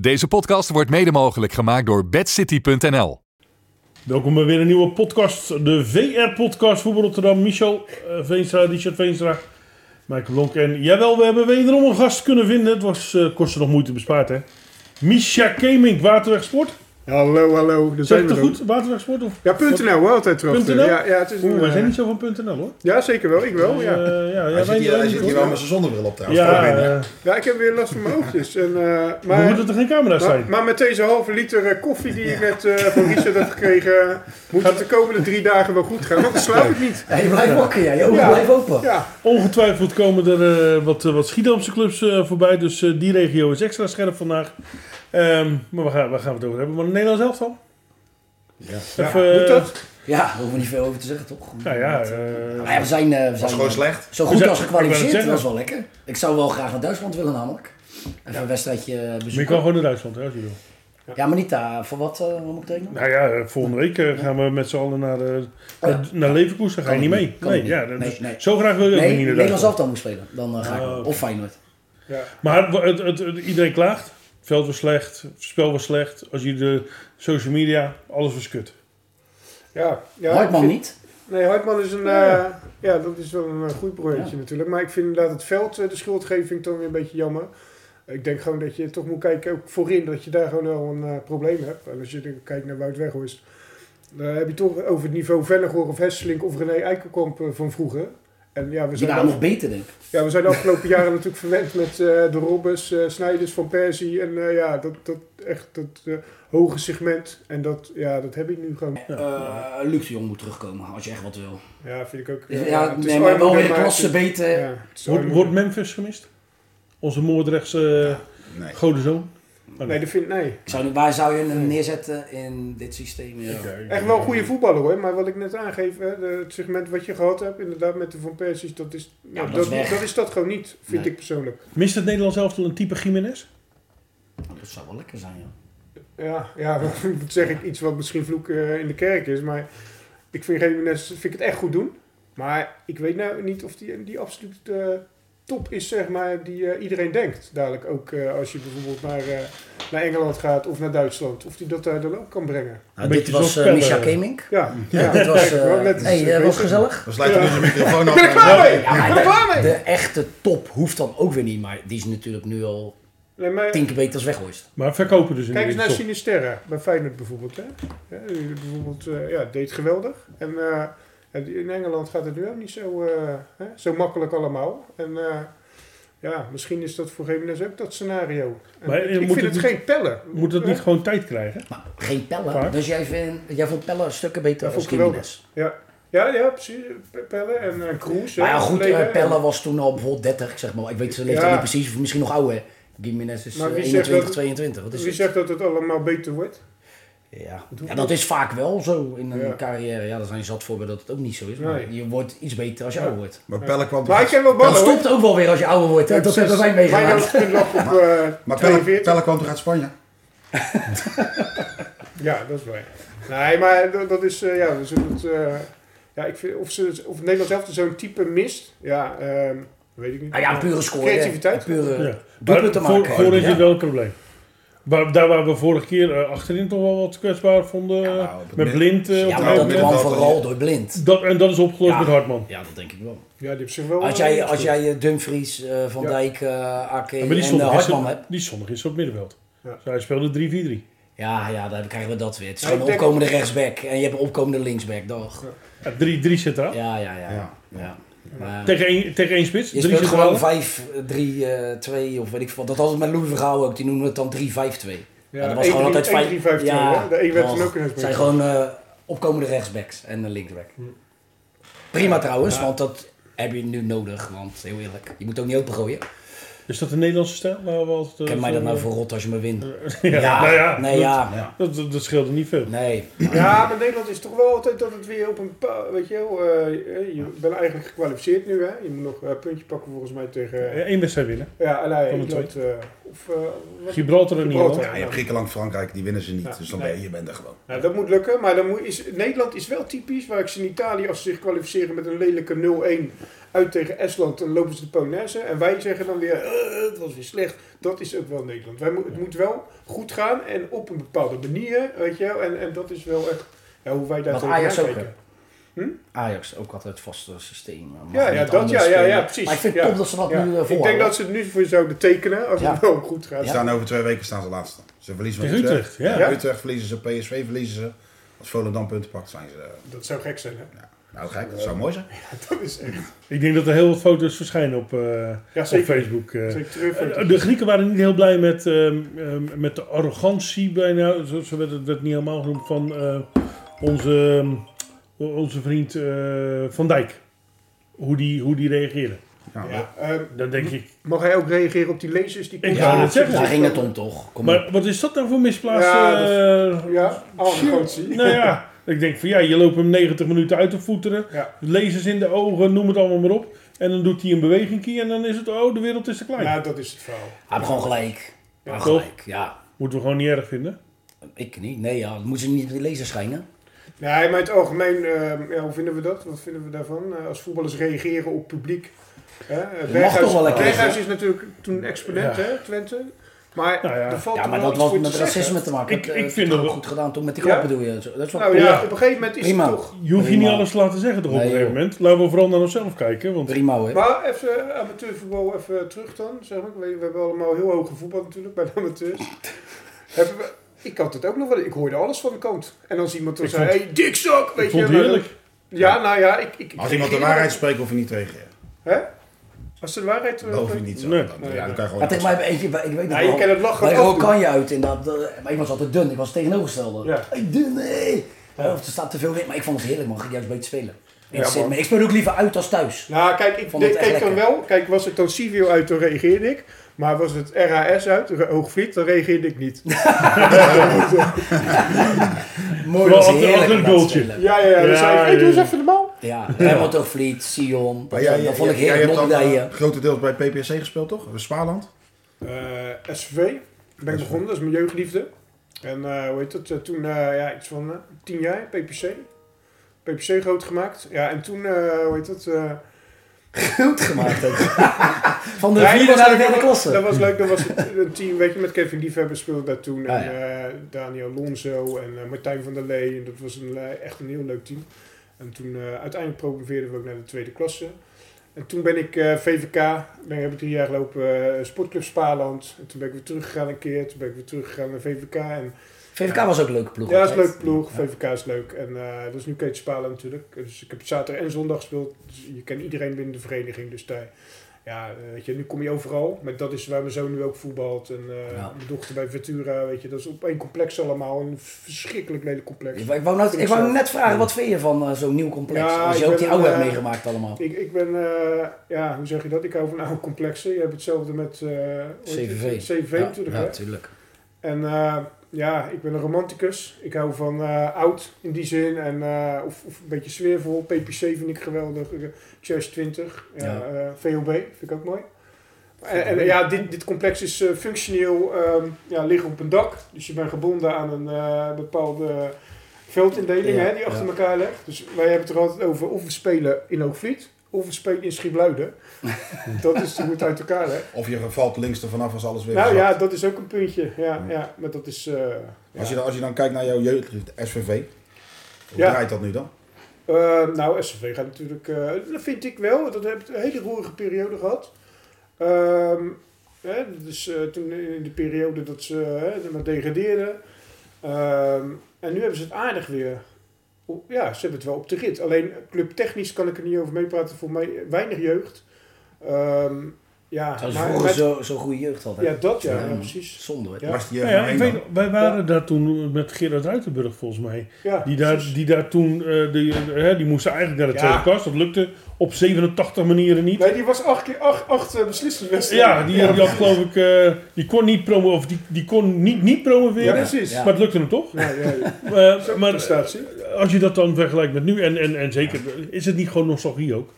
Deze podcast wordt mede mogelijk gemaakt door bedcity.nl. Welkom bij weer een nieuwe podcast, de VR-podcast Voetbal Rotterdam. Michel eh, Veenstra, Richard Veenstra, Michael Blonk en jawel, we hebben wederom een gast kunnen vinden. Het was, eh, kostte nog moeite bespaard, hè. Misha Kemink, Waterweg Sport. Hallo, hallo. Daar Zeg zijn ik we het dan. goed? Waterweg Sport? Of... Ja, .nl hoor, altijd terug. .nl? Ja, ja, het is nu, Oeh, wij eh, zijn niet zo van .nl, hoor. ja, zeker wel. Ik wel, ja. Eh, ja, ja, Hij wij- zit hier, wij hij niet, zit hier hoor. wel met zijn zonnebril op trouwens. Ja, Ja, eh, Ja, ik heb weer last van mijn oogjes. En, eh, maar maar, moet er geen camera's maar, zijn? maar met deze halve liter eh, koffie die ik net eh, van Richard heb gekregen, moet het de komende drie dagen wel goed gaan. Want dan slaap ik niet. Ja, je blijft wakker, ja. Je ogen Ja. blijven open. Ja, Ongetwijfeld komen er eh, wat, eh, wat Schiedamse clubs eh, voorbij, dus eh, die regio is extra scherp vandaag. Ehm, maar waar gaan, waar gaan we het over hebben? Maar het Nederlands elftal? ja. Even, eh, moet dat? Ja, daar hoeven we niet veel over te zeggen, toch? Nou ja, Maar ja, we zijn, eh, we was zijn gewoon slecht. zo We goed zijn- als ik gekwalificeerd. wou net Dat was zeggen. wel lekker. Ik zou wel graag naar Duitsland willen namelijk. Even een wedstrijdje eh, maar je kan bezoeken. gewoon naar Duitsland, hè, als je wil. Ja, maar niet daar. Voor wat, eh, wat moet ik tekenen? Nou ja, eh, volgende week eh, gaan we met z'n allen naar, eh naar, naar Leverkusen. Dan ga je Kan niet ik mee. niet, kan nee, ik niet. ja, dat Nee, is- nee. Zo graag wil je ook Nee, niet naar Duitsland. Nederlands elftal moet spelen. Dan eh, ga ik. Ah, oké. Of Feyenoord. Maar wa- het, het, het- iedereen klaagt. Het veld was slecht, het spel was slecht. Als je de social media, alles was kut. Ja, ja, Hartman ik vind- niet. Nee, Hartman is een... eh, ja, dat is wel een eh, goed projectje natuurlijk. Maar ik vind inderdaad het veld, eh, de schuldgeving, vind ik dan weer een beetje jammer. Ik denk gewoon dat je toch moet kijken, ook voorin, dat je daar gewoon wel een eh, probleem hebt. En als je dan kijkt naar Wout Weghorst, dan heb je toch over het niveau Vellegor of Hesselink of René Eikenkamp eh, van vroeger. En ja, we Die zijn, waren nog af- beter, denk ik. ja, we zijn de afgelopen jaren natuurlijk verwend met eh, de Robbers, eh, Snijders, Van Persie. En eh, ja, dat, dat echt dat eh, hoge segment. En dat, ja, dat heb ik nu gewoon. Eh Luc de Jong moet terugkomen, als je echt wat wil. Ja, vind ik ook. eh, Ja, het is nee, maar wel armoede, weer de maar het klasse is- beter. ja, Eh, het is Wordt, armoede. wordt Memphis gemist? Onze moordrechtse eh, Nee. godenzoon? Nee, dat vind nee. Ik zou, nu- waar zou je hem neerzetten in dit systeem? Ja. Echt wel een goede voetballer hoor, maar wat ik net aangeef, hè, de- het segment wat je gehad hebt, inderdaad met de Van Persies, dat is, nou, dat dat, is weg. dat is dat gewoon niet, vind Nee. ik persoonlijk. Mist het Nederlands elftal een type Jiménez? Dat zou wel lekker zijn, joh. Ja, ja, dat zeg ik iets wat misschien vloek eh, in de kerk is, maar ik vind Jiménez, vind ik het echt goed doen. Maar ik weet nou niet of die, die absoluut eh, top is, zeg maar, die eh, iedereen denkt. Dadelijk ook eh, als je bijvoorbeeld naar, eh, naar Engeland gaat of naar Duitsland, of die dat daar dan ook kan brengen. Nou, beetje dit was zo'n eh Misha speler. Kemink. Ja, Ja, dit was, kijk, wel, eh, net is hey, het eh, was beter. gezellig. We sluiten nu de microfoon af. Ik ben er klaar mee! Ja, maar ik ben er klaar mee! De echte top hoeft dan ook weer niet, maar die is natuurlijk nu al Nee, maar- tien keer beter als weggooist. Maar verkopen dus in Kijk eens de naar top. Sinisterra, bij Feyenoord bijvoorbeeld. Hè? Ja, die bijvoorbeeld, eh, ja, deed geweldig. En eh, ja, die- in Engeland gaat het nu ook niet zo, eh, hè, zo makkelijk allemaal. En eh, ja, misschien is dat voor Jiménez ook dat scenario. En Maar, eh, ik ik moet vind het het geen pellen. Moet het Eh, niet gewoon tijd krijgen? Maar geen Waar? pellen. Dus jij, vindt, jij vond pellen stukken beter Ja, als vond ik wel. Jiménez. Ja, ja, precies. Pe- Pellen en eh Kroes. Maar hè, ja, goed, verleden. eh, pellen was toen al bijvoorbeeld 30, ik zeg maar. Ik weet zijn leeftijd Ja. niet precies, of misschien nog ouder. Jiménez is Maar eh, wie zegt 21, dat- 22. Wat is Wie het? zegt dat het allemaal beter wordt? Ja. hoeft ja, dat is vaak wel zo in een Ja. carrière. Ja, er zijn zat voorbeelden dat het ook niet zo is. Maar Nee. je wordt iets beter als je Ja. ouder wordt. Maar Pelle kwam Maar ik toch, ken wel ballen Dat hoor. stopt ook wel weer als je ouder wordt. hè. Dat hebben wij Mijn meegemaakt. hoogtepunt lag op eh, maar Pelle, 42. Pelle kwam toch uit Spanje? Ja, dat is waar. Nee, maar dat, dat is, eh, ja, dus het, eh, ja, ik vind, of, ze, of Nederland zelf zo'n type mist, ja, ehm, weet ik niet. Nou ja, een pure score. Creativiteit. Pure Ja. doelpunten Maar voor, maken. voor is Ja. het wel een probleem. Waar, daar waar we vorige keer eh, achterin toch wel wat kwetsbaar vonden. nou, op het met min- blind. eh, Ja, op maar een dat Blind moment. kwam had vooral al- door blind. dat, en dat is opgelost Ja. met Hartman. Ja, dat denk ik wel. Ja, die heeft zich wel... eh, Als jij, als jij eh, Dumfries, eh, Van Ja. Dijk, eh Ake Ja, en maar die eh, zondag, is, Hartman er- hebt. die zondag is op middenveld. Ja. Dus hij speelde 3-4-3. Ja, ja, dan krijgen we dat weer. Het is Ja, gewoon een ik denk- opkomende rechtsback en je hebt een opkomende linksback. Dag. Ja, 3-3 centraal. Ja, ja, ja. ja. Ja. Maar Tegen, één, tegen één spits. je Drie speelt gewoon eh, centralen. 5, 3, 2 of weet ik veel. wat. Dat had het met Louis Vergaal ook. Die noemde het dan 3, 5, 2. Ja, dat was gewoon altijd 1-3, 5. 1-3-5-2, hè? De een werd toch. toen ook in het Het zijn gewoon eh, opkomende rechtsbacks en een linksback. Prima trouwens, want dat heb je nu nodig. Want heel eerlijk, je moet ook niet opengooien. Is dat de Nederlandse stijl? Waar we altijd, eh, Ken mij dat van- nou voor rot als je me wint? Ja, nou ja, nee, ja. Dat, dat, dat scheelde niet veel. Nee. Ja, maar Nederland is toch wel altijd dat het weer op een... pa- Weet je wel, eh, je bent eigenlijk gekwalificeerd nu, hè. Je moet nog een puntje pakken volgens mij tegen... eh, Eén Eh, wedstrijd winnen. ja, Van nee, de Engeland, eh, of... eh, wat- Gibraltar en Gibraltar. Nederland. Ja, je hebt Griekenland, Frankrijk, die winnen ze niet. Ja, dus dan nee. ben je, je bent er gewoon. Nou, dat moet lukken, maar dan moet, is, Nederland is wel typisch waar ik ze in Italië, als ze zich kwalificeren met een lelijke 0-1 uit tegen Estland, dan lopen ze de Polonaise. En wij zeggen dan weer, "Eh, het was weer slecht. Dat is ook wel Nederland. Wij mo- het moet wel goed gaan en op een bepaalde manier, weet je wel. En, en dat is wel echt ja, hoe wij daar Wat tegenaan Ajax ook kijken. heeft. Hm? Ajax ook altijd het vaste systeem. eh, mag Ja, niet ja, dat, anders ja, ja, spelen. ja, precies. Maar ik vind Ja. het top dat ze dat Ja. nu eh Ik denk dat volhouden. ze het nu voor zouden tekenen als Ja. het wel goed gaat. Ze staan over twee weken staan ze laatste. Ze verliezen van Tegen Utrecht. Utrecht, ja. Ja. Utrecht verliezen ze, PSV verliezen ze. Als Volendam punten pakt, zijn ze... eh, Dat zou gek zijn, hè? Nou gek, dat zou mooi zijn. Dat is echt... Ik denk dat er heel wat foto's verschijnen op, eh, Ja, op zeker. Facebook. eh. Zeker terug. Eh, De Grieken waren niet heel blij met, ehm, ehm, met de arrogantie bijna, zo, zo werd het werd niet helemaal genoemd, van eh, onze, ehm, onze vriend eh, Van Dijk. Hoe die, hoe die reageerde. Ja, Ja, ehm, Dan denk ik, mag hij ook reageren op die lezers? Die Ik Ja, wou net zeggen. daar ging het om toch. Kom op. maar wat is dat nou voor misplaatste... Ja, eh, Ja, Oh, arrogantie. nou ja, ik denk van ja, je loopt hem 90 minuten uit te voeteren. Ja. Lezers in de ogen, noem het allemaal maar op. En dan doet hij een beweging en dan is het, oh, de wereld is te klein. Nou, dat is het verhaal. Hij heeft gewoon gelijk. Ja, toch? gelijk. Ja, Moeten we gewoon niet erg vinden. ik niet. Nee, ja, dat moeten ze niet in de lezer schijnen. Nee, maar in het algemeen, eh, ja, hoe vinden we dat? Wat vinden we daarvan? Eh, als voetballers reageren op publiek. Hè? Eh, toch wel een keer, Berghuis hè? is natuurlijk toen exponent, Ja. hè, Twente. Maar Nou ja. er valt Ja, toch maar wel dat iets had voor met te racisme zeggen. te maken. Ik- Dat, ik eh, vind toch dat- goed gedaan toen met die Ja. klappen doe je. Zo. Dat is wel Nou ja, Ja. op een gegeven moment is Prima. het toch... Je hoeft je Prima. niet alles te laten zeggen toch op Nee, een gegeven joh. moment. Laten we vooral naar onszelf kijken. Want prima hoor. Maar even eh, amateurvoetbal even terug dan, zeg maar. We, we hebben allemaal heel hoog voetbal natuurlijk bij de amateurs. hebben we, ik had het ook nog wel. Ik hoorde alles van de kant. En als iemand dan Ik zei, vond- hey, dikzak! Weet ik vond je het wel. heerlijk. Ja, nou ja, ik... ik Als iemand de waarheid spreekt, hoef je niet tegen je. Hè? Als ze de waarheid... eh, Dat hoef je niet zo. Nee. Dan, ja, dan kan je Maar gewoon... tegen mij heb eentje, ik weet Ja, nog je wel, kan het lachen Bij ook doen. Oranje uit inderdaad. eh, Maar ik was altijd dun, ik was het tegenovergestelde. Ja. Hey, dun, hé! Of er staat te veel in, maar ik vond het heerlijk man, ik ging juist beter spelen. man. Interesseert me. ik speel ook liever uit als thuis. Nou, kijk, ik Vond het deed- echt keek dan lekker. wel. Kijk, was het dan Civio uit, dan reageerde ik. Maar was het RHS uit, Re- Hoogvliet, dan reageerde ik niet. Mooi, Wel, dat is als- heerlijk als een om dat te goaltje. spelen. Ja, ja, ja. Dan Ja, zei ik, hey, ja, doe eens ja. even normaal. Ja, Herman ja. Vliet, Sion, dat, jij- dat vond ik jij- jij heerlijk. hebt dan, Lobbydijden. eh, grotendeels bij PPSC gespeeld, toch? Spaarland? Eh, SV, ben ik begonnen, dat is mijn jeugdliefde. En eh, hoe heet het, eh, toen eh, ja, iets van eh, tien jaar, PPC. PPC groot gemaakt. Ja, en toen, eh, hoe heet het... eh, goed gemaakt ook. Van de Ja, vierde dat was naar de leuk, derde dat was- Dat klasse. was leuk, dat was het- een team, weet je, met Kevin Liefhebber speelde daar toen. Ah, en eh, Daniel Lonzo en eh, Martijn van der Lee. En dat was een, eh, echt een heel leuk team. En toen eh, uiteindelijk promoveerden we ook naar de tweede klasse. En toen ben ik eh, VVK, ben, heb ik drie jaar gelopen, eh, Sportclub Spaarland. En toen ben ik weer teruggegaan een keer. Toen ben ik weer teruggegaan naar VVK. En, VVK was ook een leuke ploeg. ja, dat is altijd. een leuke ploeg. VVK is leuk. En eh, dat is nu Keetje Spaarland natuurlijk. Dus ik heb zaterdag en zondag gespeeld. Dus je kent iedereen binnen de vereniging. Dus daar, ja, eh, weet je, nu kom je overal. Maar dat is waar mijn zoon nu ook voetbalt. En eh, Ja. mijn dochter bij Ventura, weet je. Dat is op één complex allemaal. Een verschrikkelijk lelijk complex. Ik wou, ik wou net- ik wou net vragen, wat vind je van eh, zo'n nieuw complex? Ja, Als je ik ook die ben, oude hebt eh, meegemaakt allemaal. Ik, ik ben, eh, ja, hoe zeg je dat? Ik hou van oude complexen. Je hebt hetzelfde met eh, hoe heet het? CVV. CVV Ja, natuurlijk, ja, hè? tuurlijk. En eh, ja, ik ben een romanticus. Ik hou van eh, oud in die zin. En, eh, of, of een beetje sfeervol. PPC vind ik geweldig. Eh, Chess 20. eh, Ja. eh, VOB vind ik ook mooi. En, en ja, dit, dit complex is eh, functioneel ehm ja, liggen op een dak. Dus je bent gebonden aan een eh, bepaalde veldindeling Ja, hè, die achter ja. elkaar ligt. Dus wij hebben het er altijd over of we spelen in Hoogvliet of we spelen in Schiebluiden. Dat is hoe het uit elkaar hè. Of je valt links er vanaf als alles weer Nou verzakt. ja, dat is ook een puntje. Ja, ja maar dat is... eh, ja. Als, je dan, als je dan kijkt naar jouw jeugd, SVV. Hoe Ja. draait dat nu dan? Eh, nou, SCV gaat natuurlijk, eh, dat vind ik wel, dat heb een hele roerige periode gehad. Ehm, hè, dus eh, toen in de periode dat ze hè, maar degradeerden. Ehm, en nu hebben ze het aardig weer. O- Ja, ze hebben het wel op de rit. Alleen clubtechnisch kan ik er niet over meepraten, voor mij weinig jeugd. Ehm, ja, Terwijl ze maar- vroeger maar- zo- zo'n goede jeugd hadden. ja, dat ja, Ja. ja, precies. Zonde hoor. Ja. Was die Nou jeugd ja, ja, ik weet, wij waren daar toen met Gerard Ruitenburg volgens mij. Ja, Die daar, precies. die daar toen, eh, die, eh, hè, die moesten eigenlijk naar de Ja. tweede klas. Dat lukte op 87 manieren niet. Nee, die was acht keer acht, acht eh, beslissingswedstrijden. Ja, die, die had geloof ik, eh, die kon niet, promo of die, die kon niet, niet Ja, promoveren. precies. Ja. Maar het lukte hem toch? Ja, ja, ja. Eh, maar Prestatie. als je dat dan vergelijkt met nu, en, en, en zeker, is het niet gewoon nostalgie ook?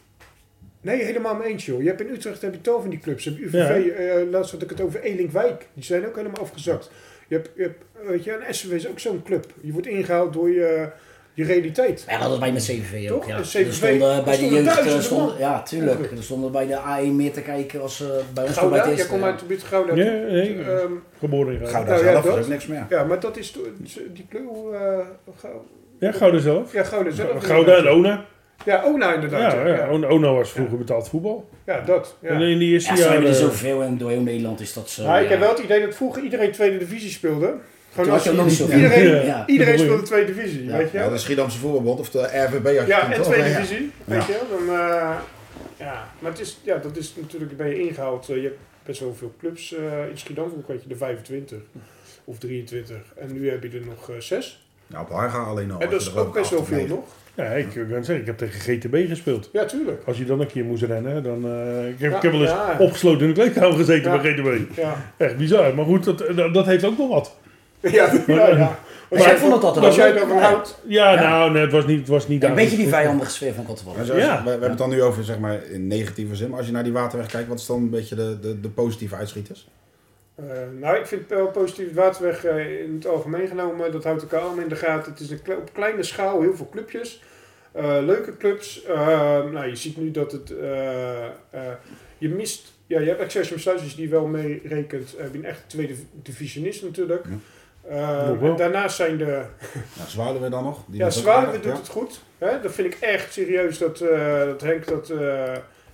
Nee, helemaal mee eens, joh. Je hebt in Utrecht heb je tal van die clubs. Je hebt UVV, eh, laatst had ik het over Elinkwijk. Die zijn ook helemaal afgezakt. Je hebt, je hebt eh, weet je, een SCV is ook zo'n club. Je wordt ingehaald door je, je realiteit. Ja, dat was bij met CVV ook. Toch? Ja. En Er CVV stonden bij de stonden jeugd, duizenden eh, stonden, man. ja tuurlijk, er stonden bij de AE meer te kijken als eh, bij ons toen bij Gouda, het jij eerste. eh, komt uit de buurt Gouda. Ja, nee, Ehm, geboren in Gouda. Gouda Nou ja, zelf, dat- dat is ook niks meer. ja, maar dat is to- die kleur. hoe, eh, Gou- Ja, Gouda zelf. ja, Gouda zelf. Gouda en Ona. Ja, Ona inderdaad. Ja, Ja, ja. ja. On- Ona was vroeger betaald voetbal. Ja, dat. Ja. En in die Ja, eerste ze hebben er jaren... eh, zoveel en door heel Nederland is dat zo. Maar eh, ik ja. heb wel het idee dat vroeger iedereen tweede divisie speelde. Toen Gewoon had je ook nog niet zoveel. iedereen, Ja. Ja. iedereen speelde tweede divisie, Ja. weet je Ja, wel. de Schiedamse voetbalbond of de RVB had je Ja, toen en toch? tweede Ja. divisie, weet je wel. Dan, eh, ja. Maar het is, ja, dat is natuurlijk, ben je ingehaald. Eh, je hebt best wel veel clubs. eh, in Schiedam vond ik, weet je, de 25 of 23. En nu heb je er nog eh, zes. Nou, op Harga alleen al. en dat is ook best wel veel nog. Ja, ik kan zeggen, ik heb tegen GTB gespeeld. Ja, tuurlijk. Als je dan een keer moest rennen, dan... eh, ik, heb, Ja, ik heb wel eens ja. opgesloten in de kleedkamer gezeten Ja. bij GTB. Ja, Echt bizar. Maar goed, dat, dat, dat heeft ook wel wat. ja, ja. ja. Maar jij vond dat altijd Als wel jij leuk, daarvan ja. houdt. Ja, nou, nee, het was niet, het was niet Een daar. beetje die vijandige sfeer van Kottebal. Ja, Ja, zoals- Ja. we, we hebben het dan nu over, zeg maar, in negatieve zin. Maar als je naar die waterweg kijkt, wat is dan een beetje de, de, de positieve uitschieters? Eh, nou, ik vind wel positief het waterweg eh, in het algemeen genomen. Dat houdt elkaar allemaal in de gaten. Het is een kle- op kleine schaal heel veel clubjes. Eh, leuke clubs. Eh, nou, je ziet nu dat het... eh, eh, je mist... Ja, je hebt Excelsior Sluis, als je die wel mee rekent. Heb je een echt tweede divisionist natuurlijk. Ja. Eh, Nog wel. en daarnaast zijn de... Nou, Zwaluwe dan nog? Die Ja, was ook Zwaluwe aardig, doet ja. het goed. Hè? Dat vind ik echt serieus dat, eh, dat Henk, dat, eh,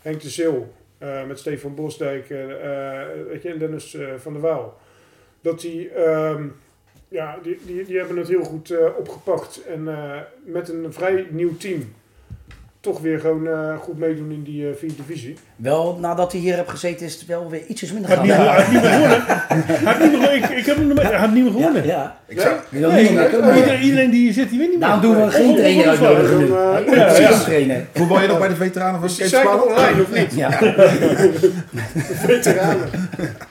Henk de Zeel eh, met Stefan Bosdijk eh, eh, weet je, en Dennis eh, van der Waal. Dat die, ehm, ja, die, die, die hebben het heel goed eh, opgepakt. En eh, met een vrij nieuw team toch weer gewoon eh, goed meedoen in die eh, vierde divisie. Wel, nadat hij hier heb gezeten is het wel weer ietsjes minder Hij gaan. heeft niet gewo- hij heeft niet meer gewonnen. Hij heeft niet meer gewonnen. Ik- Ik heb hem nog maar- hij heeft niet meer gewonnen. Ja, Ik Nee? zou, je wil Nee, niet meer komen. iedereen, iedereen die hier zit, die wint niet meer. Daarom doen we geen trainer Ongelooflijk. uitnodigen nu. Ja, Nee, ja. precies een trainer. voetbal je nog bij de veteranen van Is die Skate site nog Zwaluwe? online of niet? Ja. Veteranen.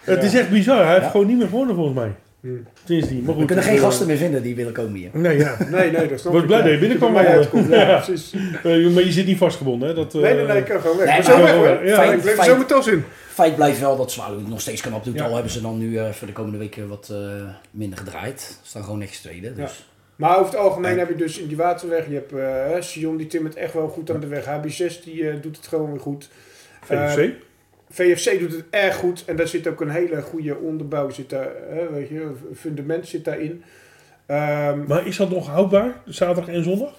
Het is echt bizar. Hij heeft Ja. gewoon niet meer gewonnen volgens mij. Hmm. Sindsdien. Maar goed. Eh, We kunnen geen gasten meer vinden die willen komen hier. Nee, ja. Nee, nee, dat snap Was ik. blij ja. dat je binnenkwam, Dat je erbij Allen. uitkomt, Ja, Ja. precies. Eh, maar je zit niet vastgebonden, hè? Dat, eh, Nee, nee, nee, ik kan gewoon weg. Nee, maar maar- zo weg hoor. Ja, Fijn- ik leef er fijn- zo mijn tas in. Feit blijft wel dat Zwaluwe het nog steeds knap doet. Ja. Al hebben ze dan nu eh, voor de komende weken wat eh, minder gedraaid. Ze staan gewoon netjes tweede. Dus. Maar over het algemeen heb je dus in die waterweg, je hebt eh, Sion, die timmert echt wel goed aan de weg. HB6, die eh, doet het gewoon weer goed. Eh, VFC. eh, VFC doet het erg goed en daar zit ook een hele goede onderbouw, zit daar, eh, weet je, een fundament zit daarin. Ehm maar is dat nog houdbaar? Zaterdag en zondag?